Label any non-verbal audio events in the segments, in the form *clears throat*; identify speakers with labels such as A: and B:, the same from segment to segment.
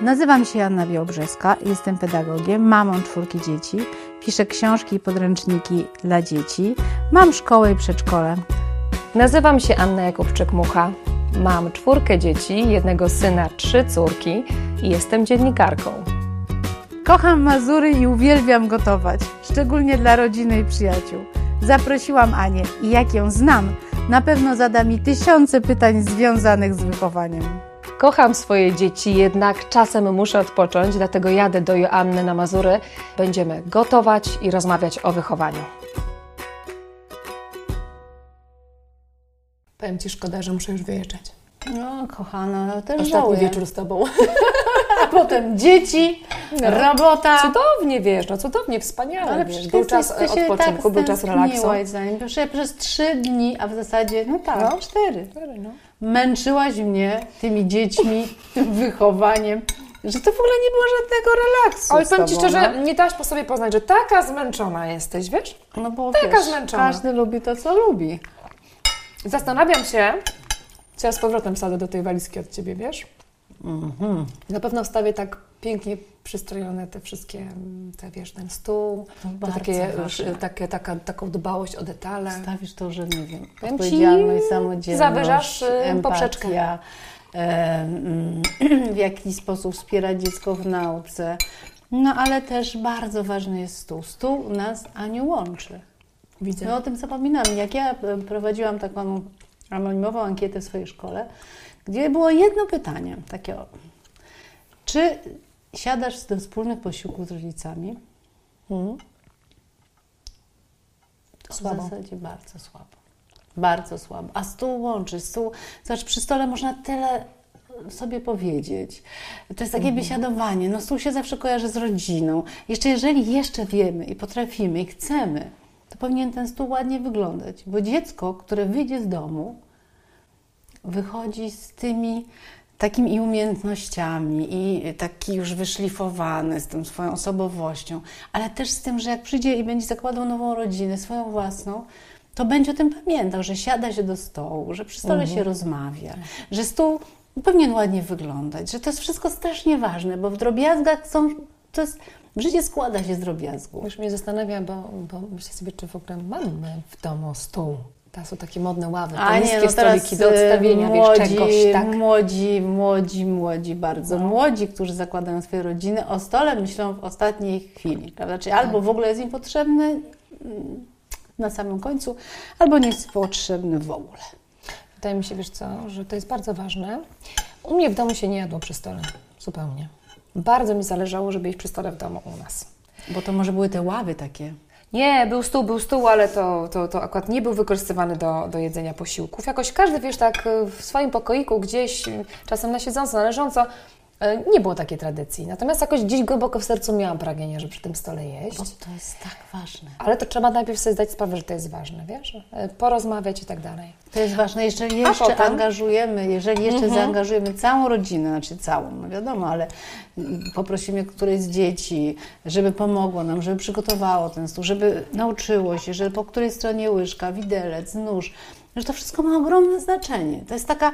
A: Nazywam się Anna Białobrzeska, jestem pedagogiem, mamą czwórki dzieci, piszę książki i podręczniki dla dzieci, mam szkołę i przedszkole.
B: Nazywam się Anna Jakubczyk-Mucha. Mam czwórkę dzieci, jednego syna, trzy córki i jestem dziennikarką.
A: Kocham Mazury i uwielbiam gotować, szczególnie dla rodziny i przyjaciół. Zaprosiłam Anię i jak ją znam, na pewno zada mi tysiące pytań związanych z wychowaniem.
B: Kocham swoje dzieci, jednak czasem muszę odpocząć, dlatego jadę do Joanny na Mazury. Będziemy gotować i rozmawiać o wychowaniu.
C: Powiem Ci, szkoda, że muszę już wyjeżdżać.
A: No, kochana, no też
C: Ostatni
A: żałuję.
C: tak wieczór z Tobą.
A: A potem dzieci,
B: No.
A: robota.
B: Cudownie wiesz, no cudownie, wspaniale.
A: Ale
C: wiesz,
A: przecież
C: był czas e,
A: ty się
C: odpoczynku,
A: tak
C: był czas relaksu.
A: stęskniłaś za nim. Przecież przez trzy dni, a w zasadzie, no tak,
C: No.
A: cztery. Męczyłaś mnie tymi dziećmi, *laughs* tym wychowaniem, że to w ogóle nie było żadnego relaksu.
C: Oj,
A: z
C: powiem Ci
A: tobą,
C: szczerze, nie dałaś po sobie poznać, że taka zmęczona jesteś, wiesz?
A: No, no bo
C: taka
A: wiesz,
C: zmęczona.
A: każdy lubi to, co lubi.
C: Zastanawiam się, co ja z powrotem wsadzę do tej walizki od Ciebie, wiesz?
A: Mhm.
C: Na pewno wstawię tak pięknie przystrojone te wszystkie, mm, te, wiesz, ten stół,
A: To
C: to takie,
A: bardzo ważne.
C: sz- takie, taka, taką dbałość o detale.
A: Stawisz to, że nie wiem,
C: Tak. Powiem ci,
A: odpowiedzialność, samodzielność,
C: zawyżasz, y,
A: empatia,
C: poprzeczkę.
A: e, mm, *clears throat* w jaki sposób wspierać dziecko w nauce. No ale też bardzo ważny jest stół. Stół nas Aniu łączy.
C: Widzę.
A: My No, o tym zapominam. Jak ja e, prowadziłam taką anonimową ankietę w swojej szkole, gdzie było jedno pytanie takie o, czy siadasz do wspólnych posiłków z rodzicami? To
C: Mhm. Słabo.
A: W zasadzie bardzo słabo. Bardzo słabo. A stół łączy, stół... Zobacz, przy stole można tyle sobie powiedzieć. To jest takie biesiadowanie. No stół się zawsze kojarzy z rodziną. Jeszcze jeżeli jeszcze wiemy i potrafimy i chcemy, to powinien ten stół ładnie wyglądać. Bo dziecko, które wyjdzie z domu, wychodzi z tymi takimi i umiejętnościami i taki już wyszlifowany z tą swoją osobowością, ale też z tym, że jak przyjdzie i będzie zakładał nową rodzinę, swoją własną, to będzie o tym pamiętał, że siada się do stołu, że przy stole się rozmawia, że stół powinien ładnie wyglądać, że to jest wszystko strasznie ważne, bo w drobiazgach są, to jest, życie składa się z drobiazgów.
C: Już mnie zastanawia, bo, bo myślę sobie, czy w ogóle mamy w domu stół. Teraz są takie modne ławy, te
A: A
C: niskie
A: nie, no teraz
C: stoliki do
A: e,
C: odstawienia,
A: młodzi,
C: wiesz, czegoś, tak?
A: Młodzi, młodzi, młodzi, bardzo młodzi, którzy zakładają swoje rodziny, o stole myślą w ostatniej chwili, prawda? Czyli albo w ogóle jest im potrzebny mm, na samym końcu, albo nie jest potrzebny w ogóle.
C: Wydaje mi się, wiesz co, że to jest bardzo ważne. U mnie w domu się nie jadło przy stole, zupełnie. Bardzo mi zależało, żeby jeść przy stole w domu u nas.
A: Bo to może były te ławy takie.
C: Nie, był stół, był stół, ale to, to, to akurat nie był wykorzystywany do, do jedzenia posiłków. Jakoś każdy, wiesz, tak y, w swoim pokoiku gdzieś, y, czasem na siedząco, na leżąco, y, nie było takiej tradycji. Natomiast jakoś gdzieś głęboko w sercu miałam pragnienie, żeby przy tym stole jeść.
A: Bo to jest tak ważne.
C: Ale to trzeba najpierw sobie zdać sprawę, że to jest ważne, wiesz? Y, Porozmawiać i tak dalej.
A: To jest ważne, jeżeli jeszcze
C: potem?
A: angażujemy, jeżeli jeszcze zaangażujemy całą rodzinę, znaczy całą, no wiadomo, ale mm, poprosimy któreś z dzieci, żeby pomogło nam, żeby przygotowało ten stół, żeby nauczyło się, że po której stronie łyżka, widelec, nóż, że to wszystko ma ogromne znaczenie. To jest taka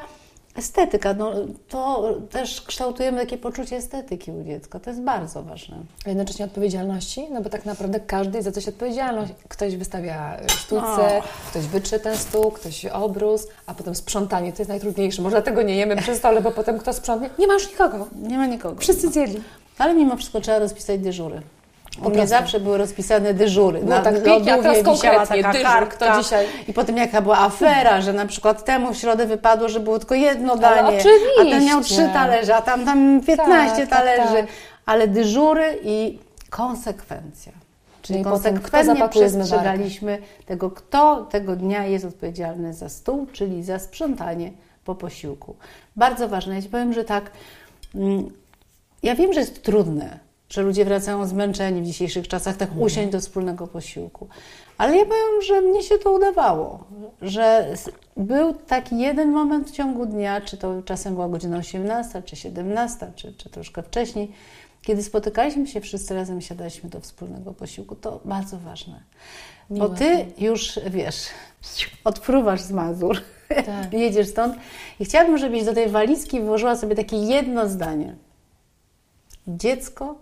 A: estetyka, no, to też kształtujemy takie poczucie estetyki u dziecka, to jest bardzo ważne.
C: A jednocześnie odpowiedzialności, no bo tak naprawdę każdy jest za coś odpowiedzialność. Ktoś wystawia y, sztuce,
A: O.
C: ktoś wytrze ten stół, ktoś obrus, a potem sprzątanie to jest najtrudniejsze. Może dlatego nie jemy przy stole, bo potem kto sprzątnie? Nie ma już nikogo.
A: Nie ma nikogo.
C: Wszyscy zjedli.
A: Ale mimo wszystko trzeba rozpisać dyżury. U mnie
C: prostu.
A: zawsze były rozpisane dyżury.
C: No tak, pięknie, a teraz konkretnie, dyżur, kto dzisiaj?
A: I potem jaka była afera, że na przykład temu w środę wypadło, że było tylko jedno danie. A ten miał
C: oczywiście.
A: trzy talerze, a tam, tam 15
C: Tak, tak,
A: talerzy.
C: tak.
A: Ale dyżury i konsekwencja. Czyli,
C: Czyli potem, kto
A: konsekwentnie
C: zapakuje zmywarkę.
A: przestrzegaliśmy tego, kto tego dnia jest odpowiedzialny za stół, czyli za sprzątanie po posiłku. Bardzo ważne. Ja Ci powiem, że tak, mm, ja wiem, że jest trudne, że ludzie wracają zmęczeni w dzisiejszych czasach, tak usiąść do wspólnego posiłku. Ale ja powiem, że mnie się to udawało, że s- był taki jeden moment w ciągu dnia, czy to czasem była godzina 18, czy 17, czy, czy troszkę wcześniej, kiedy spotykaliśmy się wszyscy razem, siadaliśmy do wspólnego posiłku. To bardzo ważne. Bo ty już, wiesz, odpruwasz z Mazur, *laughs*
C: Tak.
A: jedziesz stąd i chciałabym, żebyś do tej walizki włożyła sobie takie jedno zdanie. Dziecko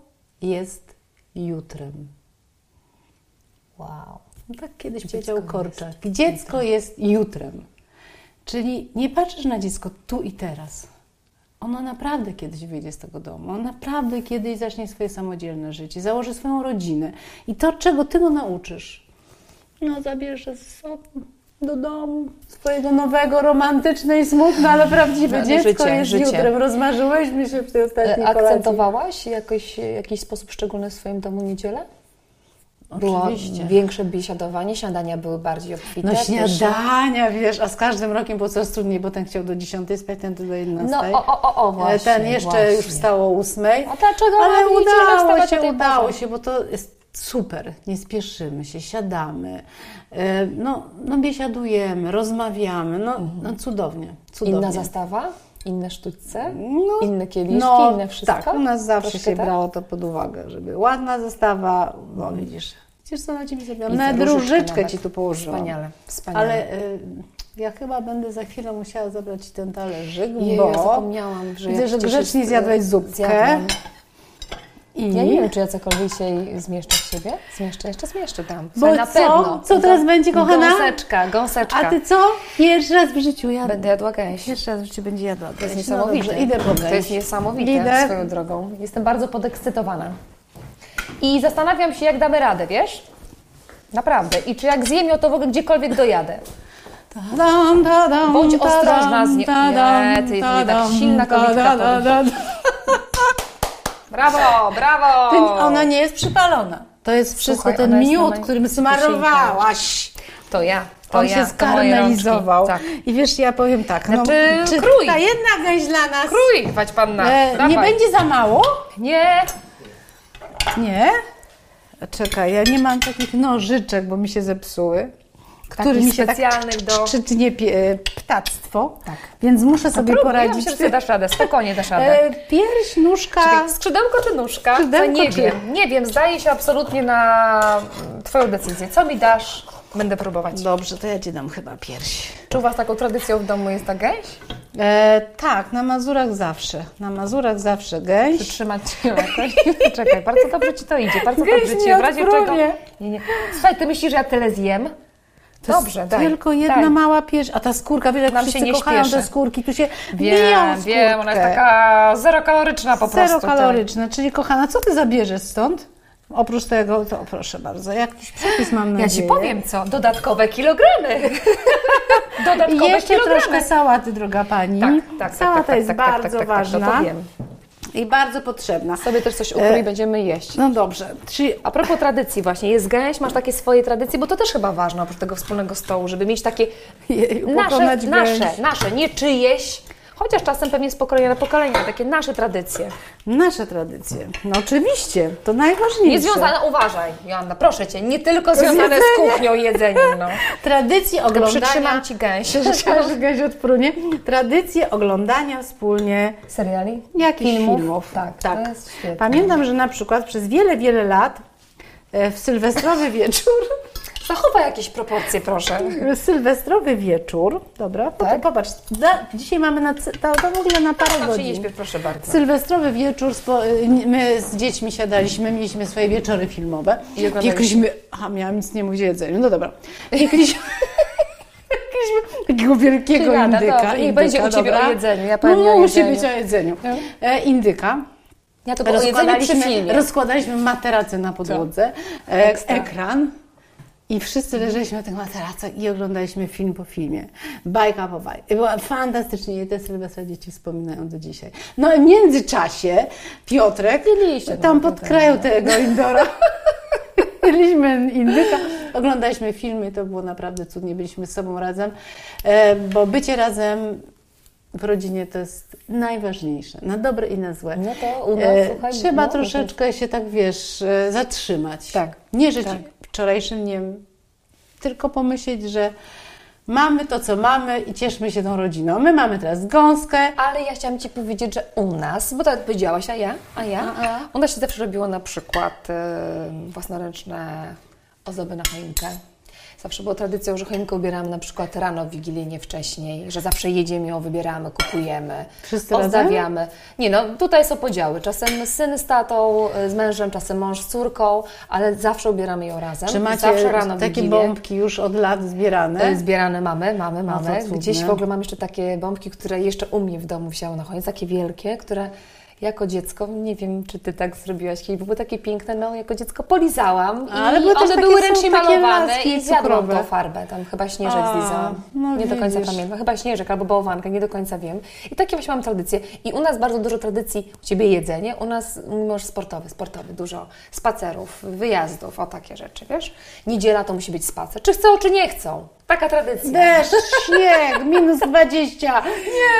A: jest jutrem.
C: Wow.
A: No Tak kiedyś
C: Dziecko
A: powiedział
C: jest
A: Korczak. Dziecko jest jutrem. Czyli nie patrzysz na dziecko tu i teraz. Ono naprawdę kiedyś wyjdzie z tego domu, ono naprawdę kiedyś zacznie swoje samodzielne życie, założy swoją rodzinę. I to, czego ty go nauczysz, no zabierze ze sobą do domu swojego nowego, romantyczne i smutne, ale prawdziwe
C: Ale
A: dziecko
C: życie,
A: jest
C: życie. E,
A: jutrem. Rozmarzyłeś mi się w tej ostatniej kolacji.
C: Akcentowałaś jakoś, w jakiś sposób szczególny w swoim domu niedzielę? Było
A: Oczywiście.
C: większe biesiadowanie, śniadania były bardziej obfite.
A: No
C: pyszne.
A: śniadania, wiesz, a z każdym rokiem było coraz trudniej, bo ten chciał do 10 spać, ten do 11.
C: No o, o, o, o
A: E,
C: właśnie.
A: ten jeszcze
C: właśnie.
A: już wstało o 8.
C: A dlaczego
A: Ale
C: robicie
A: udało
C: wstawać o
A: się,
C: tej
A: udało
C: porze?
A: się, bo to jest super. Nie spieszymy się, siadamy, E, no, no biesiadujemy, rozmawiamy, no, no cudownie, cudownie.
C: Mhm. Inna zastawa, inne sztućce,
A: No,
C: inne kieliszki,
A: no,
C: inne wszystko.
A: Tak, u nas zawsze
C: Troszkę
A: się
C: tak?
A: brało to pod uwagę, żeby ładna zestawa, no widzisz, widzisz co na Ciebie zrobiłam?
C: Widzę,
A: Nawet
C: różyczkę
A: różyczkę
C: nawet.
A: Ci tu położyłam.
C: tak. Wspaniale, wspaniale.
A: Ale y, ja chyba będę za chwilę musiała zabrać Ci ten talerzyk,
C: Jej,
A: bo
C: ja zapomniałam, że
A: widzę,
C: jak
A: że
C: przecież
A: grzecznie
C: z-
A: zjadłeś zupkę.
C: zjadłam.
A: I...
C: Ja nie wiem, czy ja cokolwiek się jej zmieszczę w siebie. Zmieszczę, jeszcze zmieszczę tam.
A: Bo
C: Ale na
A: co?
C: pewno.
A: Co teraz będzie, kochana?
C: Gąseczka, gąseczka.
A: A Ty co? Pierwszy raz w życiu jadłam.
C: Będę jadła gęś.
A: Pierwszy raz w życiu będzie jadła.
C: To jest niesamowite.
A: No dobrze, idę po
C: to jest
A: gęś.
C: niesamowite
A: Idę.
C: swoją drogą. Jestem bardzo podekscytowana. I zastanawiam się, jak damy radę, wiesz? Naprawdę. I czy jak zjem ją, to w ogóle gdziekolwiek dojadę.
A: Tadam, tadam,
C: Bądź
A: tadam,
C: ostrożna z nie-
A: tadam,
C: Nie, ty jesteś tak
A: tadam,
C: silna kobitka,
A: tadam, tadam.
C: Brawo, brawo!
A: Ten- Ona nie jest przypalona. To jest wszystko
C: Słuchaj, ona
A: ten
C: jest na
A: miód,
C: mojej
A: którym
C: kusinka.
A: smarowałaś.
C: To ja, to
A: On
C: ja.
A: się
C: to moje rączki.
A: skarmelizował.
C: Tak.
A: I wiesz, ja powiem tak.
C: Znaczy,
A: no, czy
C: krój.
A: ta jedna gęś dla nas
C: Krój, wać panna.
A: e, nie będzie za mało?
C: Nie.
A: Nie. Czekaj, ja nie mam takich nożyczek, bo mi się zepsuły. Który
C: Takich
A: mi się tak
C: specjalnych do-
A: krzycznie pie- e, ptactwo, więc muszę sobie
C: Próbuj, ja
A: poradzić.
C: myślę, że sobie dasz radę, spokojnie dasz radę.
A: e, pierś, nóżka,
C: Czekaj, skrzydełko czy nóżka?
A: Skrzydełko
C: to nie
A: czy-
C: wiem, nie wiem, zdaje się absolutnie na mm, Twoją decyzję. Co mi dasz? Będę próbować.
A: Dobrze, to ja ci dam chyba pierś.
C: Czy u Was taką tradycją w domu jest ta gęś?
A: E, tak, na Mazurach zawsze. Na Mazurach zawsze
C: Czy
A: gęś.
C: trzymać
A: *laughs*
C: się jakoś? Czekaj, bardzo dobrze Ci to idzie, bardzo
A: Gęś
C: dobrze Ci,
A: nie
C: w razie
A: odpruję.
C: czego... Nie, nie. Słuchaj, Ty myślisz, że ja tyle zjem?
A: To
C: dobrze,
A: jest
C: daj.
A: tylko jedna
C: daj.
A: mała pierś, a ta skórka, wiesz, jak
C: Nam
A: wszyscy
C: się nie
A: kochają te
C: śpieszy.
A: skórki, tu się biją
C: Wiem,
A: w
C: wiem, ona jest
A: skórkę.
C: taka zerokaloryczna po prostu. tak.
A: Zero kaloryczne, czyli kochana, co ty zabierzesz stąd? Oprócz tego, to proszę bardzo, jakiś przepis mam
C: Ja
A: nadzieję.
C: Ci powiem co, dodatkowe
A: *laughs*
C: kilogramy. dodatkowe
A: I jeszcze
C: kilogramy.
A: troszkę sałaty, droga pani.
C: Tak, tak, tak,
A: Sałata
C: tak, tak,
A: Mhm. jest
C: tak, tak,
A: bardzo
C: tak, tak,
A: ważna E,
C: Tak, to wiem.
A: i bardzo potrzebna.
C: Sobie też coś ukrój, będziemy jeść.
A: No dobrze, czyli
C: A propos tradycji właśnie, jest gęś, masz takie swoje tradycje, bo to też chyba ważne oprócz tego wspólnego stołu, żeby mieć takie
A: Jej,
C: nasze,
A: pokonać
C: nasze,
A: gęś.
C: nasze, nie czyjeś, chociaż czasem pewnie z pokolenia na pokolenie, takie nasze tradycje.
A: nasze tradycje. No oczywiście, to najważniejsze.
C: Nie związane, uważaj, Joanna, proszę Cię, nie tylko związane z kuchnią i jedzeniem,
A: *laughs*
C: no.
A: Tradycje oglądania... *laughs*
C: Przytrzymam Ci gęś.
A: Przytrzymam Ci gęś odprunie. Tradycje oglądania wspólnie
C: Seriali?
A: Jakichś filmów.
C: Tak, to jest świetne.
A: Pamiętam, że na przykład przez wiele, wiele lat e, w sylwestrowy *laughs* wieczór,
C: Zachowaj jakieś proporcje, proszę.
A: w sylwestrowy wieczór, dobra, tak? popatrz, da, dzisiaj mamy na, c- to, to w ogóle na parę
C: Znaczy, nie
A: godzin.
C: śpiew, proszę bardzo.
A: Sylwestrowy wieczór, spo, y, nie- my z dziećmi siadaliśmy, mieliśmy swoje wieczory filmowe.
C: I oglądaliśmy.
A: Piekliśmy, a miałam nic nie mówić o jedzeniu, no dobra. Piekliśmy, *laughs* piekliśmy takiego wielkiego
C: Czyli rada,
A: indyka.
C: dobrze, niech
A: indyka,
C: będzie u Ciebie
A: dobra?
C: o jedzeniu, ja powiem
A: no,
C: o
A: musi
C: jedzeniu. No.
A: być o jedzeniu. E, indyka.
C: Ja tylko o jedzeniu przy filmie.
A: rozkładaliśmy materacy na podłodze, e,
C: Ekstra.
A: ekran i wszyscy leżeliśmy na tych materacach i oglądaliśmy film po filmie. Bajka po bajce. Była fantastycznie i te Sylwestra dzieci wspominają do dzisiaj. No i w międzyczasie Piotrek
C: Jedliście
A: tam
C: to na
A: podkrajał tego Indora. Jedliśmy indyka, oglądaliśmy filmy, to było naprawdę cudnie, byliśmy z sobą razem, e, bo bycie razem w rodzinie to jest najważniejsze, na dobre i na złe.
C: No to u nas,
A: E,
C: słuchaj,
A: Trzeba
C: no,
A: troszeczkę się tak, wiesz, e, zatrzymać.
C: Tak.
A: Nie żyć
C: Tak.
A: wczorajszym dniem, tylko pomyśleć, że mamy to, co mamy i cieszmy się tą rodziną. My mamy teraz gąskę,
C: Ale ja chciałam Ci powiedzieć, że u nas, bo tak powiedziałaś, a ja, a ja,
A: A, a.
C: u nas się y, zawsze robiło na przykład e, własnoręczne ozdoby na choinkę. Zawsze było tradycją, że choinkę ubieramy na przykład rano, w Wigilię, nie wcześniej, że zawsze jedziemy ją, wybieramy, kupujemy,
A: Wszyscy razem?
C: ozdabiamy. Nie no, tutaj są podziały. Czasem syn z tatą, y, z mężem, czasem mąż z córką, ale zawsze ubieramy ją razem.
A: Czy macie
C: zawsze rano w
A: takie
C: Wigilię.
A: bombki już od lat zbierane? No
C: E, Zbierane mamy, mamy, mamy.
A: to cudnie.
C: Gdzieś w ogóle mam jeszcze takie bombki, które jeszcze u mnie w domu wisiały na koniec, takie wielkie, które jako dziecko, nie wiem, czy ty tak zrobiłaś kiedyś, bo były takie piękne, no jako dziecko polizałam
A: Ale
C: i
A: były też
C: one
A: takie
C: były
A: są
C: ręcznie
A: takie
C: malowane
A: laski
C: i zjadłam
A: cukrowe.
C: tą farbę, tam chyba śnieżek
A: A,
C: zlizałam.
A: no
C: nie do końca
A: widzisz.
C: pamiętam, chyba śnieżek albo bałwankę, nie do końca wiem. I takie właśnie mam tradycje. I u nas bardzo dużo tradycji, u ciebie jedzenie, u nas mąż sportowy, sportowy, dużo spacerów, wyjazdów, o takie rzeczy, wiesz? Niedziela to musi być spacer, czy chcą, czy nie chcą. Taka tradycja.
A: Deszcz, śnieg, minus 20.
C: Nie,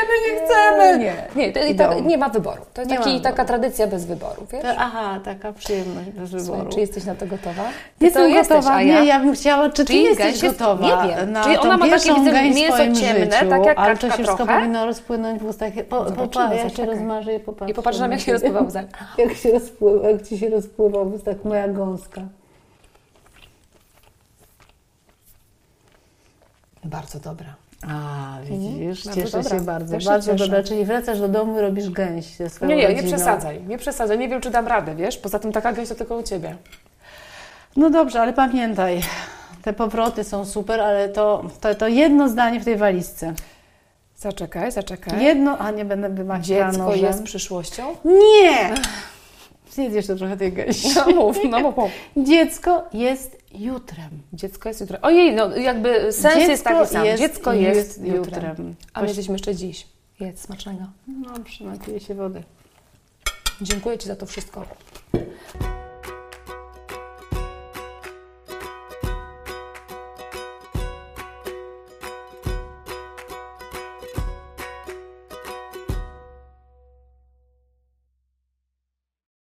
C: my nie chcemy.
A: Nie.
C: nie, to, i
A: Idą.
C: tak, nie ma wyboru. To jest
A: Nie ma
C: taki,
A: wyboru.
C: taka tradycja bez wyboru, wiesz?
A: To- Aha, taka przyjemność bez
C: Słuchaj,
A: wyboru.
C: czy jesteś na to gotowa?
A: Nie
C: Ty to
A: jestem
C: jesteś,
A: gotowa,
C: a ja?
A: nie, ja bym chciała, czy ty
C: Czyli
A: jesteś
C: gęś jest-
A: gotowa
C: nie wiem.
A: na
C: Czyli
A: tą
C: ona ma takie,
A: pierwszą
C: widzę,
A: gęś w
C: mięso
A: swoim
C: ciemne,
A: życiu,
C: tak jak
A: ale to
C: kaczka
A: się wszystko
C: trochę.
A: powinno rozpłynąć w ustach. Po,
C: Zobaczymy,
A: popa, ja się
C: zaczekaj.
A: rozmarzę i popatrzę.
C: I popatrz nam, jak się
A: na ciebie.
C: rozpływa łza.
A: *laughs* Jak się rozpływa, jak ci się rozpływa w ustach moja gąska.
C: Bardzo dobra.
A: A, widzisz,
C: bardzo
A: cieszę
C: dobra.
A: się Mhm. bardzo,
C: Też się
A: bardzo
C: cieszę.
A: dobra, czyli wracasz do domu i robisz gęś ze swoją
C: Nie, nie, nie
A: rodziną.
C: przesadzaj, nie przesadzaj. Nie wiem, czy dam radę, wiesz? Poza tym taka gęś to tylko u Ciebie.
A: No dobrze, ale pamiętaj, te powroty są super, ale to, to, to jedno zdanie w tej walizce.
C: Zaczekaj, zaczekaj.
A: Jedno, a nie będę wymachiała
C: Tak? Dziecko
A: nożem.
C: jest przyszłością?
A: Nie! Zjedz jeszcze trochę tej gęsi.
C: No mów, no mów, mów.
A: Dziecko jest jutrem.
C: Dziecko jest jutro. Ojej, no jakby sens jest
A: Dziecko
C: taki sam.
A: jest
C: Dziecko jest
A: jut-
C: jutrem.
A: jutrem.
C: A my jesteśmy jeszcze dziś. Jedz smacznego.
A: No, przynapiję się wody.
C: Dziękuję Ci za to wszystko.